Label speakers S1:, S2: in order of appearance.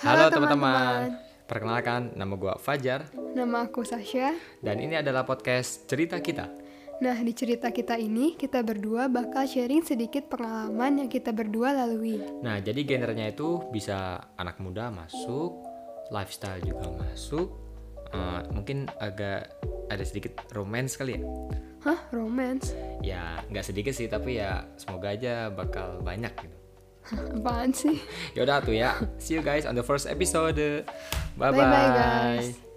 S1: Halo
S2: Halo
S1: teman-teman.
S2: teman-teman.
S1: Perkenalkan, nama gua Fajar
S2: Nama aku Sasha.
S1: dan ini adalah podcast Cerita Kita.
S2: Nah, di cerita kita ini, kita berdua bakal sharing sedikit pengalaman yang kita berdua lalui.
S1: Nah, jadi genrenya itu bisa anak muda masuk, lifestyle juga masuk. eh, mungkin agak ada sedikit romance kali ya.
S2: Hah, romance?
S1: Ya, nggak sedikit sih, tapi ya semoga aja bakal banyak gitu.
S2: Apaan sih?
S1: Yaudah tuh ya. See you guys on the first episode. Bye
S2: Bye-bye, guys.
S1: bye.